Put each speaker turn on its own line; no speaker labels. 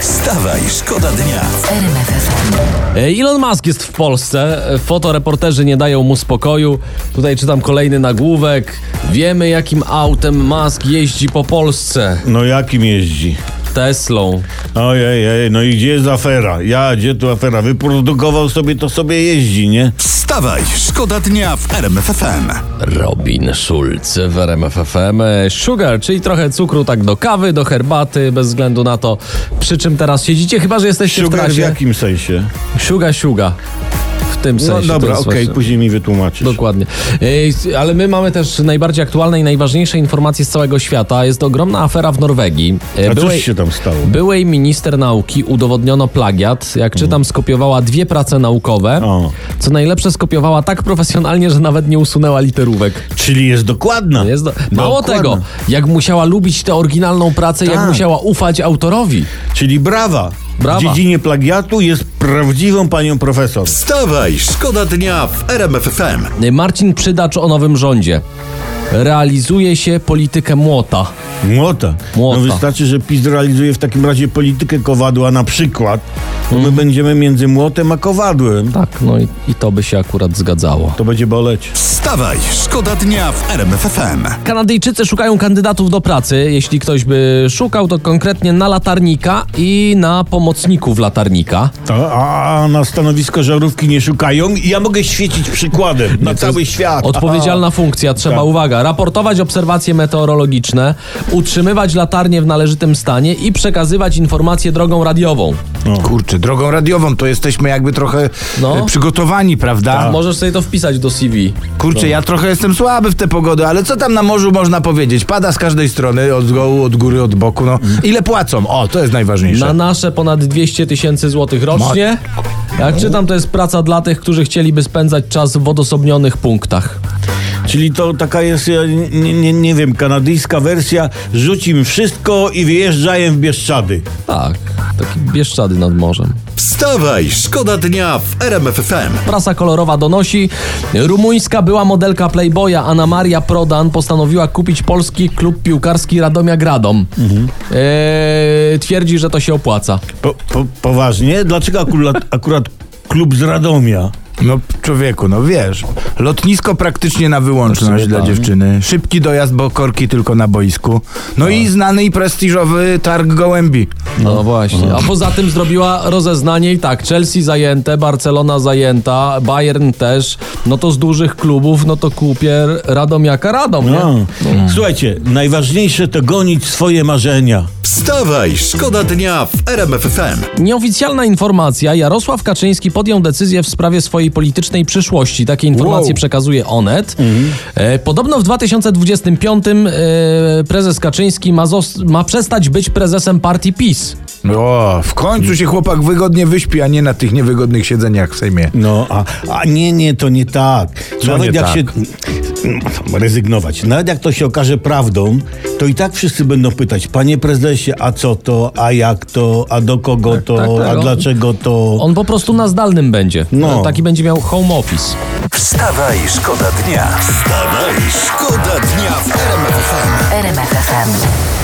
Wstawaj, szkoda dnia.
E, Elon Musk jest w Polsce, fotoreporterzy nie dają mu spokoju. Tutaj czytam kolejny nagłówek. Wiemy, jakim autem Musk jeździ po Polsce.
No jakim jeździ?
Teslą.
Ojej, ej, no i gdzie jest afera? Ja, gdzie tu afera? Wyprodukował sobie, to sobie jeździ, nie?
Wstawaj, szkoda dnia w RMFFM.
Robin Schulz w RMFFM. Sugar, czyli trochę cukru tak do kawy, do herbaty, bez względu na to, przy czym teraz siedzicie, chyba że jesteście w
Sugar w
trasie.
jakim sensie?
Suga, suga. W tym
No
sensie.
dobra,
to
okej,
słyszę.
później mi wytłumaczysz.
Dokładnie. Ej, Ale my mamy też najbardziej aktualne i najważniejsze informacje z całego świata. Jest ogromna afera w Norwegii. E,
A
byłej-
cóż się tam stało?
Byłej minister nauki udowodniono plagiat. Jak czytam, skopiowała dwie prace naukowe.
Mhm. O.
Co najlepsze, skopiowała tak profesjonalnie, że nawet nie usunęła literówek.
Czyli jest dokładna.
Jest do... Mało
No, Dokładnie.
tego, jak musiała lubić tę oryginalną pracę, jak
Tak.
musiała ufać autorowi.
Czyli brawa.
Brawa.
W dziedzinie plagiatu jest prawdziwą panią profesor.
Wstawaj, szkoda dnia w RMFFM.
Marcin Przydacz o nowym rządzie. Realizuje się politykę młota.
Młota.
Młota.
No wystarczy, że PiS realizuje w takim razie politykę kowadła na przykład, to my będziemy między młotem a kowadłem.
Mhm. Tak, no i, i to by się akurat zgadzało.
To będzie boleć.
Wstawaj, szkoda dnia w RMFFM.
Kanadyjczycy szukają kandydatów do pracy. Jeśli ktoś by szukał, to konkretnie na latarnika i na pomocników latarnika.
To, a na stanowisko żarówki nie szukają i ja mogę świecić przykładem na cały świat.
Odpowiedzialna funkcja, trzeba
Tak.
uwaga. Raportować obserwacje meteorologiczne, utrzymywać latarnie w należytym stanie i przekazywać informacje drogą radiową.
Kurczę, drogą radiową to jesteśmy jakby trochę
No. Tak.
e, przygotowani, prawda?
Możesz sobie to wpisać do CV.
Kurczę, ja trochę jestem słaby w te pogody, ale co tam na morzu można powiedzieć? Pada z każdej strony, od dołu, od góry, od boku. No. Ile płacą? O, to jest najważniejsze.
Na nasze ponad 200 tysięcy złotych rocznie. Jak czytam, to jest praca dla tych, którzy chcieliby spędzać czas w odosobnionych punktach.
Czyli to taka jest, ja nie, nie, nie wiem, kanadyjska wersja rzucim wszystko i wyjeżdżaję w Bieszczady.
Tak, taki bieszczady nad morzem.
Wstawaj, szkoda dnia w RMFFM.
Prasa kolorowa donosi, rumuńska była modelka Playboya Anna Maria Prodan postanowiła kupić polski klub piłkarski Radomia Gradom. Eee, twierdzi, że to się opłaca.
Po, po, poważnie? Dlaczego akurat, akurat klub z Radomia?
No człowieku, no wiesz. Lotnisko praktycznie na wyłączność
tak.
dla dziewczyny. Szybki dojazd, bo korki tylko na boisku. No i znany i prestiżowy targ gołębi.
No, właśnie. A poza tym zrobiła rozeznanie i tak, Chelsea zajęte, Barcelona zajęta, Bayern też. No to z dużych klubów, no to kupię Radomiaka Radom, nie?
No. Słuchajcie, najważniejsze to gonić swoje marzenia.
Wstawaj, szkoda dnia w RMFFM.
Nieoficjalna informacja. Jarosław Kaczyński podjął decyzję w sprawie swojej politycznej przyszłości. Takie informacje
Wow.
przekazuje Onet. E, podobno w 2025 e, prezes Kaczyński ma, zos- ma przestać być prezesem partii PiS.
O, w
Mm.
końcu się chłopak wygodnie wyśpi, a nie na tych niewygodnych siedzeniach w Sejmie.
No, a, a nie, nie, to nie tak.
Co
Nawet
nie
jak
tak?
się. no, Rezygnować. Nawet jak to się okaże prawdą, to i tak wszyscy będą pytać, panie prezesie, a co to, a jak to, a do kogo to,
tak, tak.
a
On-
dlaczego to.
On po prostu na zdalnym będzie.
No.
E, Taki będzie miał home office.
Wstawaj, szkoda dnia. Wstawaj, szkoda dnia w RMFFM.
RMFFM.